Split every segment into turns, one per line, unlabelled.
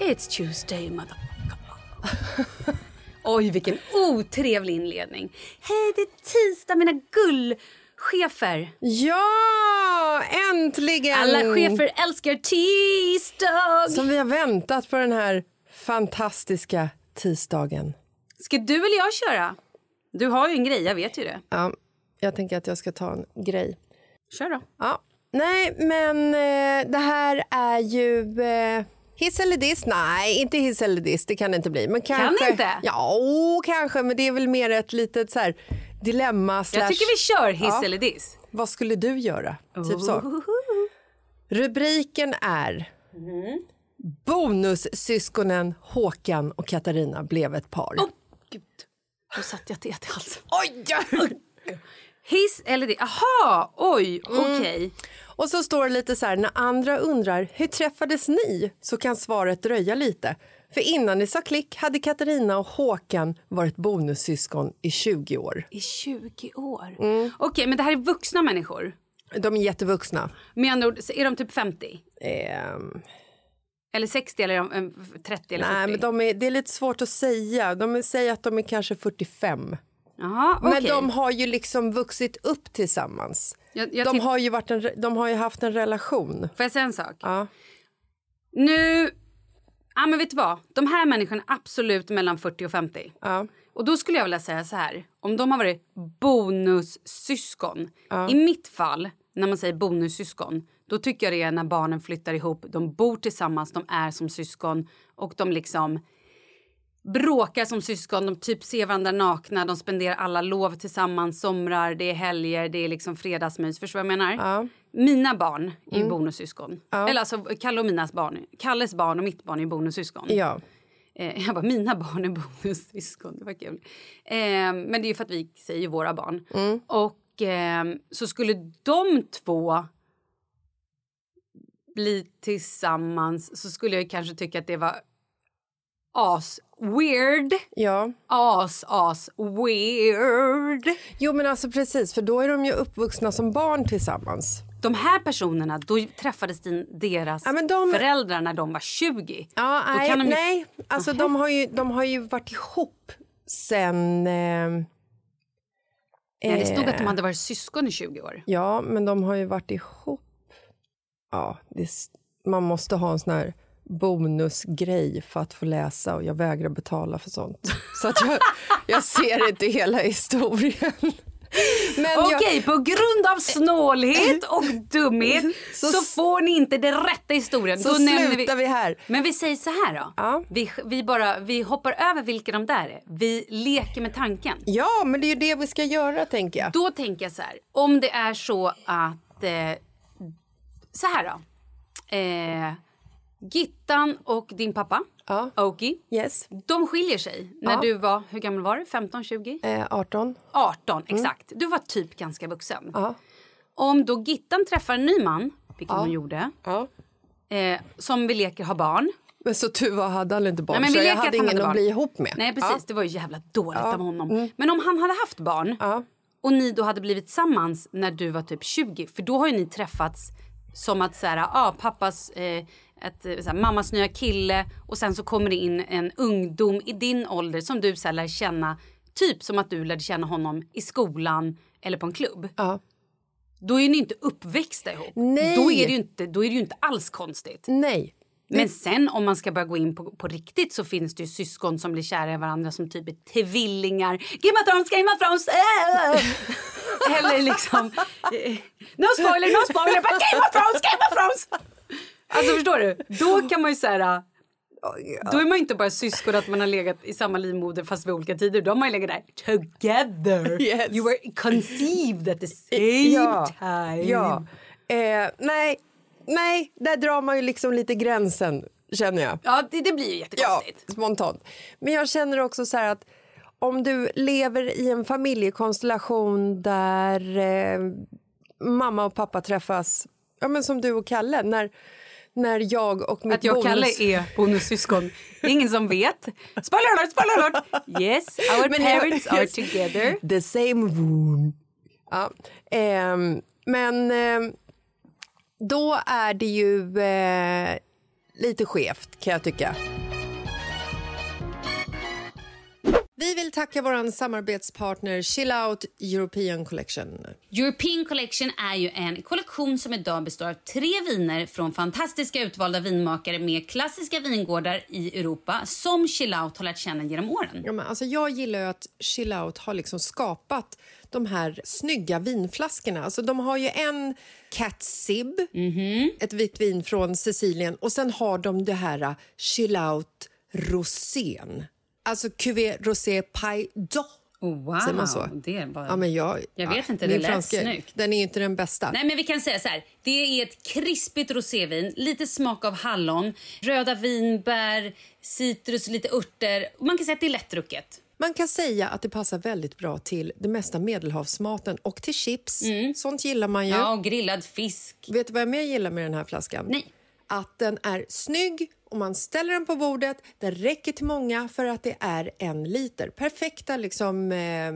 It's Tuesday, motherfucker. Oj, vilken otrevlig inledning. Hej, det är tisdag, mina gullchefer.
Ja, äntligen!
Alla chefer älskar tisdag!
Som vi har väntat på den här fantastiska tisdagen.
Ska du eller jag köra? Du har ju en grej, jag vet ju det.
Ja, jag tänker att jag ska ta en grej.
Kör då.
Ja. Nej, men eh, det här är ju... Eh, hiss eller diss? Nej, inte hiss eller diss. Det kan det inte bli. Men kanske,
inte?
Ja, åh, kanske. Men det är väl mer ett litet så här, dilemma. Slash,
Jag tycker vi kör hiss
Ja.
eller diss.
Vad skulle du göra? Typ så. Rubriken är...
Mm-hmm.
Bonussyskonen Håkan och Katarina blev ett par.
Gud, då satte jag teet i halsen.
Oj!
Hiss eller diss? Aha, oj,
Mm.
okej.
Och så står det lite så här, när andra undrar hur träffades ni? Så kan svaret dröja lite. För innan ni sa klick hade Katarina och Håkan varit bonussyskon i 20 år.
I 20 år.
Mm.
Okej, men det här är vuxna människor.
De är jättevuxna.
Med andra ord, är de typ 50?
Ehm,
Eller 60 eller är de, eh, 30 eller 40?
nej, men de är, det är lite svårt att säga. De är- säger att de är kanske 45.
Jaha,
Men
okej.
de har ju liksom vuxit upp tillsammans.
Jag- jag
de,
tipp-
har ju varit en, re- de har ju haft en relation.
Får jag säga en sak?
Ja.
Nu... Ja, men vet du vad? De här människorna är absolut mellan 40 och 50.
Ja.
Och då skulle jag vilja säga så här. Om de har varit bonussyskon. I mitt fall, när man säger bonussyskon, då tycker jag det är när barnen flyttar ihop, de bor tillsammans, de är som syskon och de liksom bråkar som syskon, de typ ser varandra nakna, de spenderar alla lov tillsammans, somrar, det är helger, det är liksom fredagsmys. Förstår du vad jag menar? Mina barn är ju bonussyskon. Eller alltså Kalle och Minas barn. Kalles barn och mitt barn är ju bonussyskon.
Ja.
Eh, jag bara, mina barn är bonussyskon. Det var kul. Eh, men det är ju för att vi säger ju våra barn.
Mm.
Och ehm, så skulle de två bli tillsammans så skulle jag ju kanske tycka att det var as weird.
ja.
As, as weird.
Jo, men alltså precis, för då är de ju uppvuxna som barn tillsammans.
De här personerna, då träffades din, deras
Ja, men de-
föräldrar när de var 20.
Ja,
Då
nej,
kan de ju-
nej. Alltså, de, har ju, de har ju varit ihop sen... Eh,
Nej, det stod att de hade varit syskon i 20 år.
ja, men de har ju varit ihop. Ja, det, s- man måste ha en sån här bonusgrej för att få läsa och jag vägrar betala för sånt. Så att jag, jag ser inte hela historien. Men jag-
Okej, på grund av snålhet och dumhet så,
Så-
får ni inte den rätta historien.
Så slutar vi här.
Men vi säger så här då.
Ja.
Vi, vi, bara, vi hoppar över vilka de där är. Vi leker med tanken.
Ja, men det är ju det vi ska göra, tänker jag.
Då tänker jag så här. Om det är så att... Eh, så här då. Eh, Gittan och din pappa,
Ja.
Oki,
Yes.
de skiljer sig när
Ja.
du var... Hur gammal var du? 15, 20?
Eh, 18.
18, exakt. Du var typ ganska vuxen.
Mm. Ja.
Om då Gittan träffar en ny man, vilket hon gjorde,
Ja.
eh, som vi leker har barn.
Men så tur var hade han inte barn,
men
så
vi
jag
leker
hade
att han
ingen
hade
att
barn.
bli ihop med. Mm.
Nej precis, det var ju jävla dåligt av honom. Men om han hade haft barn
Ja.
och ni då hade blivit tillsammans när du var typ 20, för då har ju ni träffats som att så här, ah, pappas, eh, ett, eh, så här, mammas nya kille och sen så kommer det in en ungdom i din ålder som du så här, lär känna, typ som att du lärde känna honom i skolan eller på en klubb.
Ja.
Då är ni inte uppväxta ihop.
Nej.
Då, är det ju inte, då är det ju inte alls konstigt.
Nej. Mm.
Men sen om man ska börja gå in på, på riktigt så finns det ju syskon som blir kära i varandra som typ är tvillingar. Game of Thrones, Game of Thrones! Äh! Eller liksom... eh, No spoiler, no spoiler! Bara, Game of Thrones, Game of Thrones! Alltså förstår du? Då kan man ju säga... Då är man ju inte bara syskon att man har legat i samma livmoder fast vid olika tider. Då har man ju legat där together.
Yes.
You were conceived at the same time.
Ja. Eh, nej. Nej, där drar man ju liksom lite gränsen, känner jag.
ja det, det blir ju
Ja,
jättekonstigt.
spontant. Men jag känner också så här att om du lever i en familjekonstellation där eh, mamma och pappa träffas, ja men som du och Kalle, när, när jag och mitt
Att jag och Kalle
bonus-
är bonussyskon. Det är ingen som vet. Spoiler alert, spoiler alert! Yes, our
Men jag-
parents are together.
The same wound. Ja. ehm, men ehm, då är det ju eh, lite skevt kan jag tycka. Vi vill tacka vår samarbetspartner Chill Out European Collection.
European Collection är ju en kollektion som idag består av tre viner från fantastiska utvalda vinmakare med klassiska vingårdar i Europa som Chillout har lärt känna genom åren.
Ja, men alltså jag gillar ju att Chill Out har liksom skapat de här snygga vinflaskorna. Alltså de har ju en Cat Sib,
Mhm.
ett vitt vin från Sicilien och sen har de det här uh, Chill Out Rosén. Alltså Cuvée Rosé Paille d'Or.
Wow,
Säger man så?
det var...
Ja, men jag,
Jag vet
ja,
inte,
min
det lät snyggt.
Den är ju inte den bästa.
Nej men vi kan säga så här. Det är ett krispigt rosévin, lite smak av hallon, röda vinbär, citrus, lite örter. Man kan säga att det är lättdrucket.
Man kan säga att det passar väldigt bra till det mesta medelhavsmaten och till chips. Sånt gillar man ju.
Mm. Ja, och grillad fisk.
Vet du vad jag mer gillar med den här flaskan?
Nej.
Att den är snygg och man ställer den på bordet. Den räcker till många för att det är en liter. Perfekta liksom eh,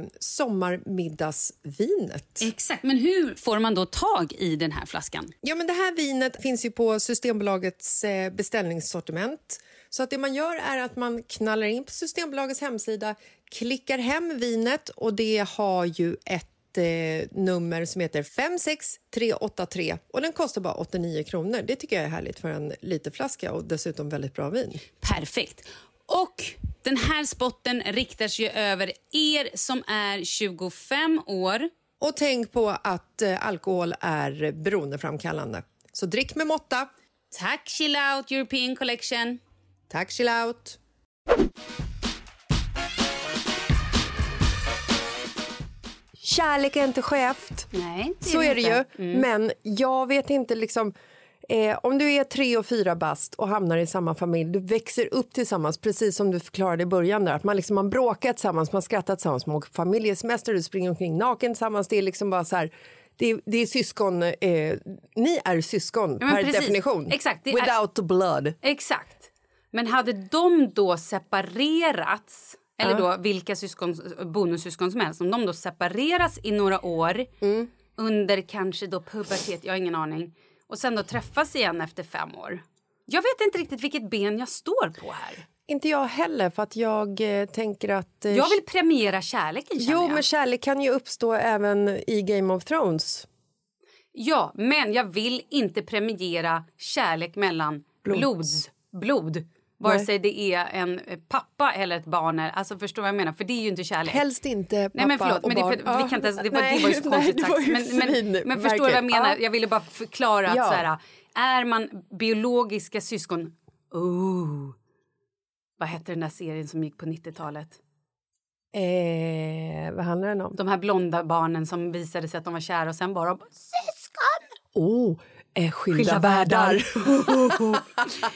sommarmiddagsvinet.
Exakt, men hur får man då tag i den här flaskan?
Ja, men det här vinet finns ju på Systembolagets eh, beställningssortiment Så att det man gör är att man knallar in på Systembolagets hemsida, klickar hem vinet och det har ju ett eh, nummer som heter 56383 och den kostar bara 89 kronor. Det tycker jag är härligt för en literflaska och dessutom väldigt bra vin.
Perfekt. Och den här spotten riktar sig ju över er som är 25 år.
Och tänk på att eh, alkohol är beroendeframkallande. Så drick med måtta.
Tack Chill Out European Collection.
Tack, chill out. Kärlek är inte skevt.
Nej, det
Så är det ju.
inte. Mm.
Men jag vet inte liksom... Eh, om du är tre och fyra bast och hamnar i samma familj, du växer upp tillsammans, precis som du förklarade i början där, att man liksom man bråkar tillsammans, man skrattar tillsammans, man åker på familjesemester, du springer omkring naken tillsammans, det är liksom bara så här, det är, det är syskon, eh, ni är syskon
Ja, men
per
precis.
definition.
Exakt, det är-
Without blood.
Exakt. Men hade de då separerats, eller då vilka syskon, bonussyskon som helst, om de då separeras i några år
Mm.
under kanske då pubertet, jag har ingen aning, och sen då träffas igen efter fem år. Jag vet inte riktigt vilket ben jag står på här.
Inte jag heller, för att jag eh, tänker att... eh,
Jag vill premiera kärleken känner
Jo,
jag.
men kärlek kan ju uppstå även i Game of Thrones.
Ja, men jag vill inte premiera kärlek mellan blods, blod. Vare
Nej.
sig det är en eh, pappa eller ett barn. är- Alltså förstår vad jag menar? För det är ju inte kärlek.
Helst inte pappa
Nej men förlåt,
och
men det,
barn.
för, vi kan inte, ens- det, var,
Nej,
det var ju så
nej,
konstigt
det var
sagt.
ju
Men, men,
svin-
men förstår du vad jag
verkligen.
menar?
Ja.
Jag ville bara förklara att
Ja.
så här, är man biologiska syskon... Oh. Vad hette den där serien som gick på 90-talet?
Eh, vad handlar den om?
De här blonda barnen som visade sig att de var kära och sen var de syskon!
Oh, eh, skilda,
Skilda
världar.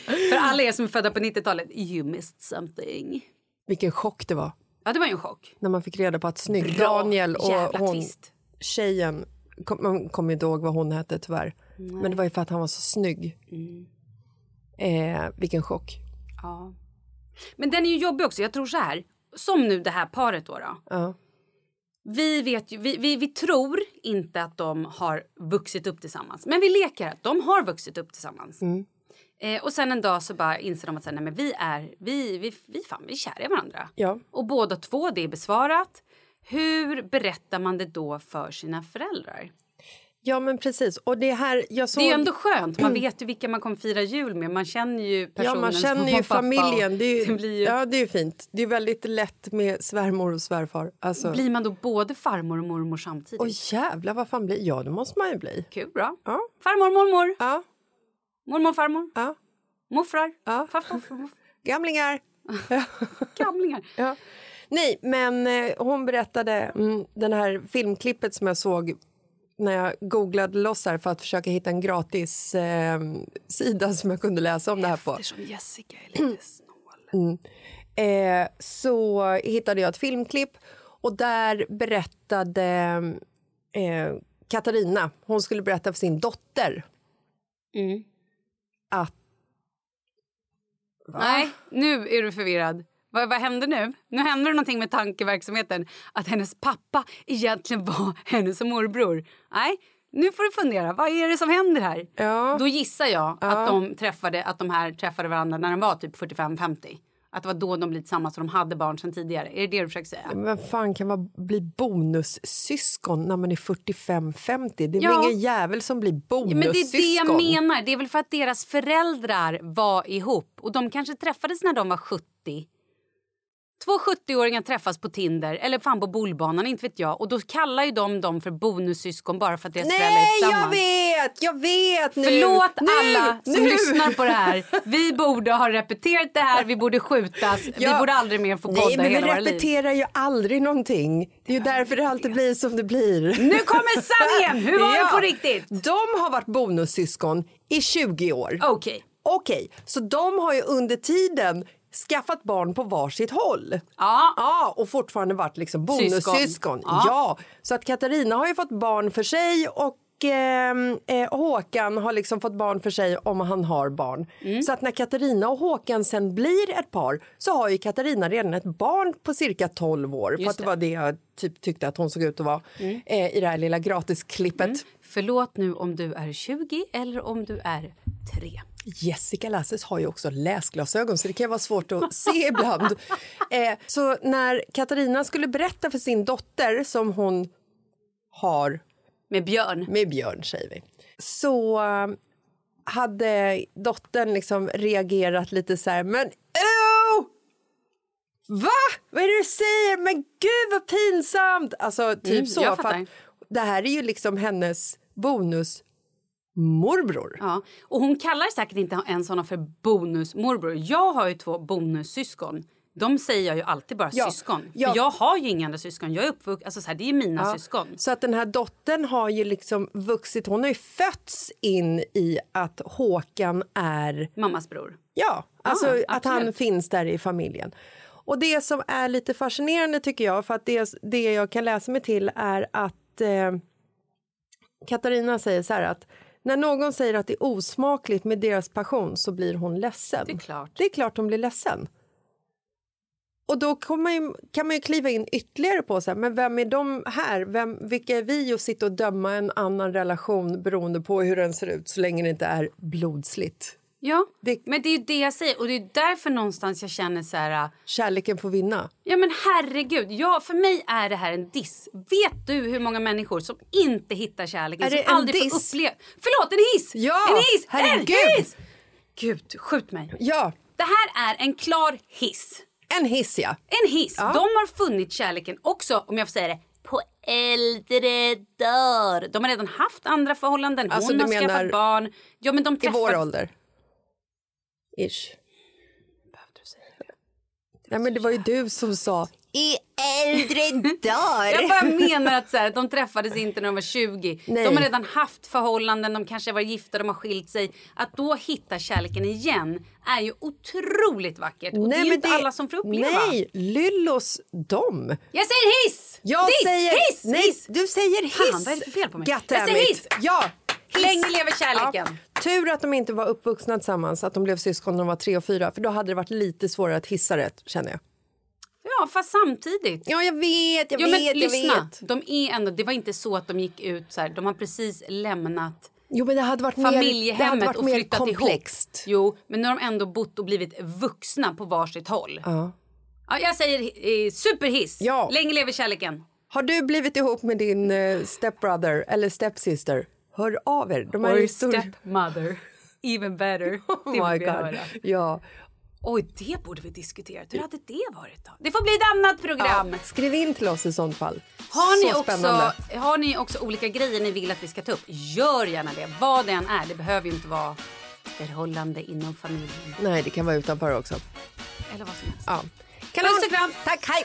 För alla er som är födda på 90-talet, you missed something.
Vilken chock det var
Ja, det var ju en chock.
när man fick reda på att snygg
Bra
Daniel och
jävla
hon,
twist.
tjejen... Kom, man kommer inte ihåg vad hon hette tyvärr. Men det var ju för att han var så snygg.
Mm.
Eh, vilken chock.
Ja. Men den är ju jobbig också. Jag tror så här, som nu det här paret då. då.
Ja.
Vi, vet ju, vi, vi, vi tror inte att de har vuxit upp tillsammans. Men vi leker att de har vuxit upp tillsammans.
Mm.
Eh, och sen en dag så bara inser de att så här, nej, men vi är vi, vi, vi, fan, vi är kära i varandra.
Ja.
Och båda två, det är besvarat. Hur berättar man det då för sina föräldrar?
ja, men precis. Och det här, jag såg...
Det är ju ändå skönt. Man vet ju vilka man kommer fira jul med. Man känner ju personen
Mm. Ja, man
som
känner
var
ju
pappa och
familjen. Det är ju,
det blir ju...
Ja, det är ju fint. Det är väldigt lätt med svärmor och svärfar. Alltså,
Blir man då både farmor och mormor samtidigt?
Åh jävlar, vad fan blir... Ja, det måste man ju bli.
Kul, bra.
Ja.
Farmor, mormor,
Ja,
mormor, farmor,
ja.
morfrar,
Ja.
farfar, farmor,
Gamlingar!
gamlingar.
Ja. Nej, men eh, hon berättade mm, den här filmklippet som jag såg när jag googlade loss här för att försöka hitta en gratis eh, sida som jag kunde läsa om det här på.
Eftersom Jessica är lite snål.
eh, så hittade jag ett filmklipp och där berättade eh, Katarina, hon skulle berätta för sin dotter
Mm.
att
Nej, nu är du förvirrad. Vad, vad hände nu? Nu hände det någonting med tankeverksamheten. Att hennes pappa egentligen var hennes morbror. Nej, nu får du fundera. Vad är det som händer här?
Ja.
Då gissar jag att, de träffade, att de här träffade varandra när de var typ 45-50. Att det var då de blev tillsammans och de hade barn sedan tidigare. Är det det du försöker säga?
vem fan kan man bli bonussyskon när man är 45-50? Det är väl
Ja.
ingen jävel som blir bonussyskon?
Men det är det jag menar. Det är väl för att deras föräldrar var ihop. Och de kanske träffades när de var 70. Två 70-åringar träffas på Tinder, eller fan på bollbanan, inte vet jag. Och då kallar ju de dem för bonussyskon bara för att deras föräldrar är
Nej, jag
tillsammans.
vet! Jag vet nu!
Förlåt
nu,
alla som
nu.
lyssnar på det här. Vi borde ha repeterat det här, vi borde skjutas. Vi
Ja.
borde aldrig mer få
Nej,
podda
men vi
hela våra liv.
repeterar ju aldrig någonting. Det är ju därför det alltid blir som det blir.
Nu kommer sanningen! Hur var
Ja.
det på riktigt?
De har varit bonussyskon i 20 år.
Okej.
Okej, så de har ju under tiden skaffat barn på varsitt håll.
Ja.
ja och fortfarande varit liksom bonussyskon.
Syskon. Ja.
Ja. så att Katarina har ju fått barn för sig och ehm, eh, Håkan har liksom fått barn för sig om han har barn. Så att när Katarina och Håkan sen blir ett par så har ju Katarina redan ett barn på cirka 12 år. för att det var det jag typ tyckte att hon såg ut att vara eh, i det här lilla gratisklippet.
Förlåt nu om du är 20 eller om du är tre.
Jessica Lasses har ju också läsglasögon så det kan vara svårt att se ibland. Eh, så när Katarina skulle berätta för sin dotter som hon har
Med Björn.
med Björn, säger vi, så eh, hade dottern liksom reagerat lite så här, men oh! Va? Vad är det du säger? Men gud vad pinsamt! Alltså typ
Mm,
så.
jag
för
fattar.
att det här är ju liksom hennes bonusmorbror.
Ja. Och hon kallar säkert inte ens honom för bonusmorbror. Jag har ju två bonussyskon. De säger jag ju alltid bara
Ja,
syskon.
ja.
För jag har ju inga andra syskon. Jag är uppvuxen, alltså så här, det är mina
Ja,
syskon.
Så att den här dottern har ju liksom vuxit, hon har ju fötts in i att Håkan är,
Mammas bror.
ja, alltså att han
Ah, absolut.
finns där i familjen. Och det som är lite fascinerande tycker jag, för att det, det jag kan läsa mig till är att eh, Katarina säger så här att när någon säger att det är osmakligt med deras passion så blir hon ledsen.
Det är klart.
Det är klart hon blir ledsen. Och då kommer man ju, kan man ju kliva in ytterligare på så här, men vem är de här? Vem, vilka är vi att sitta och döma en annan relation beroende på hur den ser ut så länge det inte är blodsligt?
Ja,
Det-
men det är ju det jag säger. Och det är därför någonstans jag känner så här...
Kärleken får vinna.
Ja men herregud, ja, för mig är det här en diss. Vet du hur många människor som inte hittar kärleken,
Är det
som
en
aldrig får
diss?
uppleva... Förlåt, en hiss!
Ja,
en hiss! En
herregud!
hiss! Gud, skjut mig.
Ja,
Det här är en klar hiss.
en hiss ja.
En hiss. De har funnit kärleken också, om jag får säga det, på äldre dagar. De har redan haft andra förhållanden. Hon
Alltså, du
har
menar
skaffat barn. Ja, men de
I
träffades...
vår ålder. Ish. Nej men det var ju du som sa i äldre
Jag
dagar.
bara menar att så här, de träffades inte när de var 20.
Nej.
De har redan haft förhållanden, de kanske var gifta, de har skilt sig. Att då hitta kärleken igen är ju otroligt vackert. Och det är ju inte alla som får uppleva.
Nej, Lyllos dom.
Jag säger hiss!
Jag
Diss!
säger
hiss!
nej,
hiss!
du säger hiss.
Fan, vad är det för fel på mig?
God
Jag
damn
säger
it.
hiss.
Ja, hiss.
Länge lever kärleken.
Ja. Tur att de inte var uppvuxna tillsammans, att de blev syskon när de var tre och fyra, för då hade det varit lite svårare att hissa rätt, känner jag.
Ja, fast samtidigt.
Ja, jag vet, jag
Jo, men
vet, jag
lyssna.
vet.
De är ändå, det var inte så att de gick ut så här. De har precis lämnat
Jo, men det hade varit mer, det hade
familjehemmet
varit
och
mer
flyttat
komplext.
ihop. Jo, men nu har de ändå bott och blivit vuxna på varsitt håll.
Ja.
Ja, jag säger eh, superhiss.
Ja.
Länge lever kärleken.
Har du blivit ihop med din eh, stepbrother eller stepsister? Hör av er. De är
Or
ju stor...
stepmother. Even better.
Oh
Det
my
vill jag
god.
höra.
Ja.
Oj, det borde vi diskutera. Hur hade det varit då? Det får bli ett annat program.
ja. Skriv in till oss i sånt fall.
Har ni,
Så spännande.
också, har ni också olika grejer ni vill att vi ska ta upp? Gör gärna det. Vad det än är. Det behöver ju inte vara förhållande inom familjen.
Nej, det kan vara utanför också.
Eller vad som helst.
Ja. Kanon.
Puss och kram!
Tack, hej!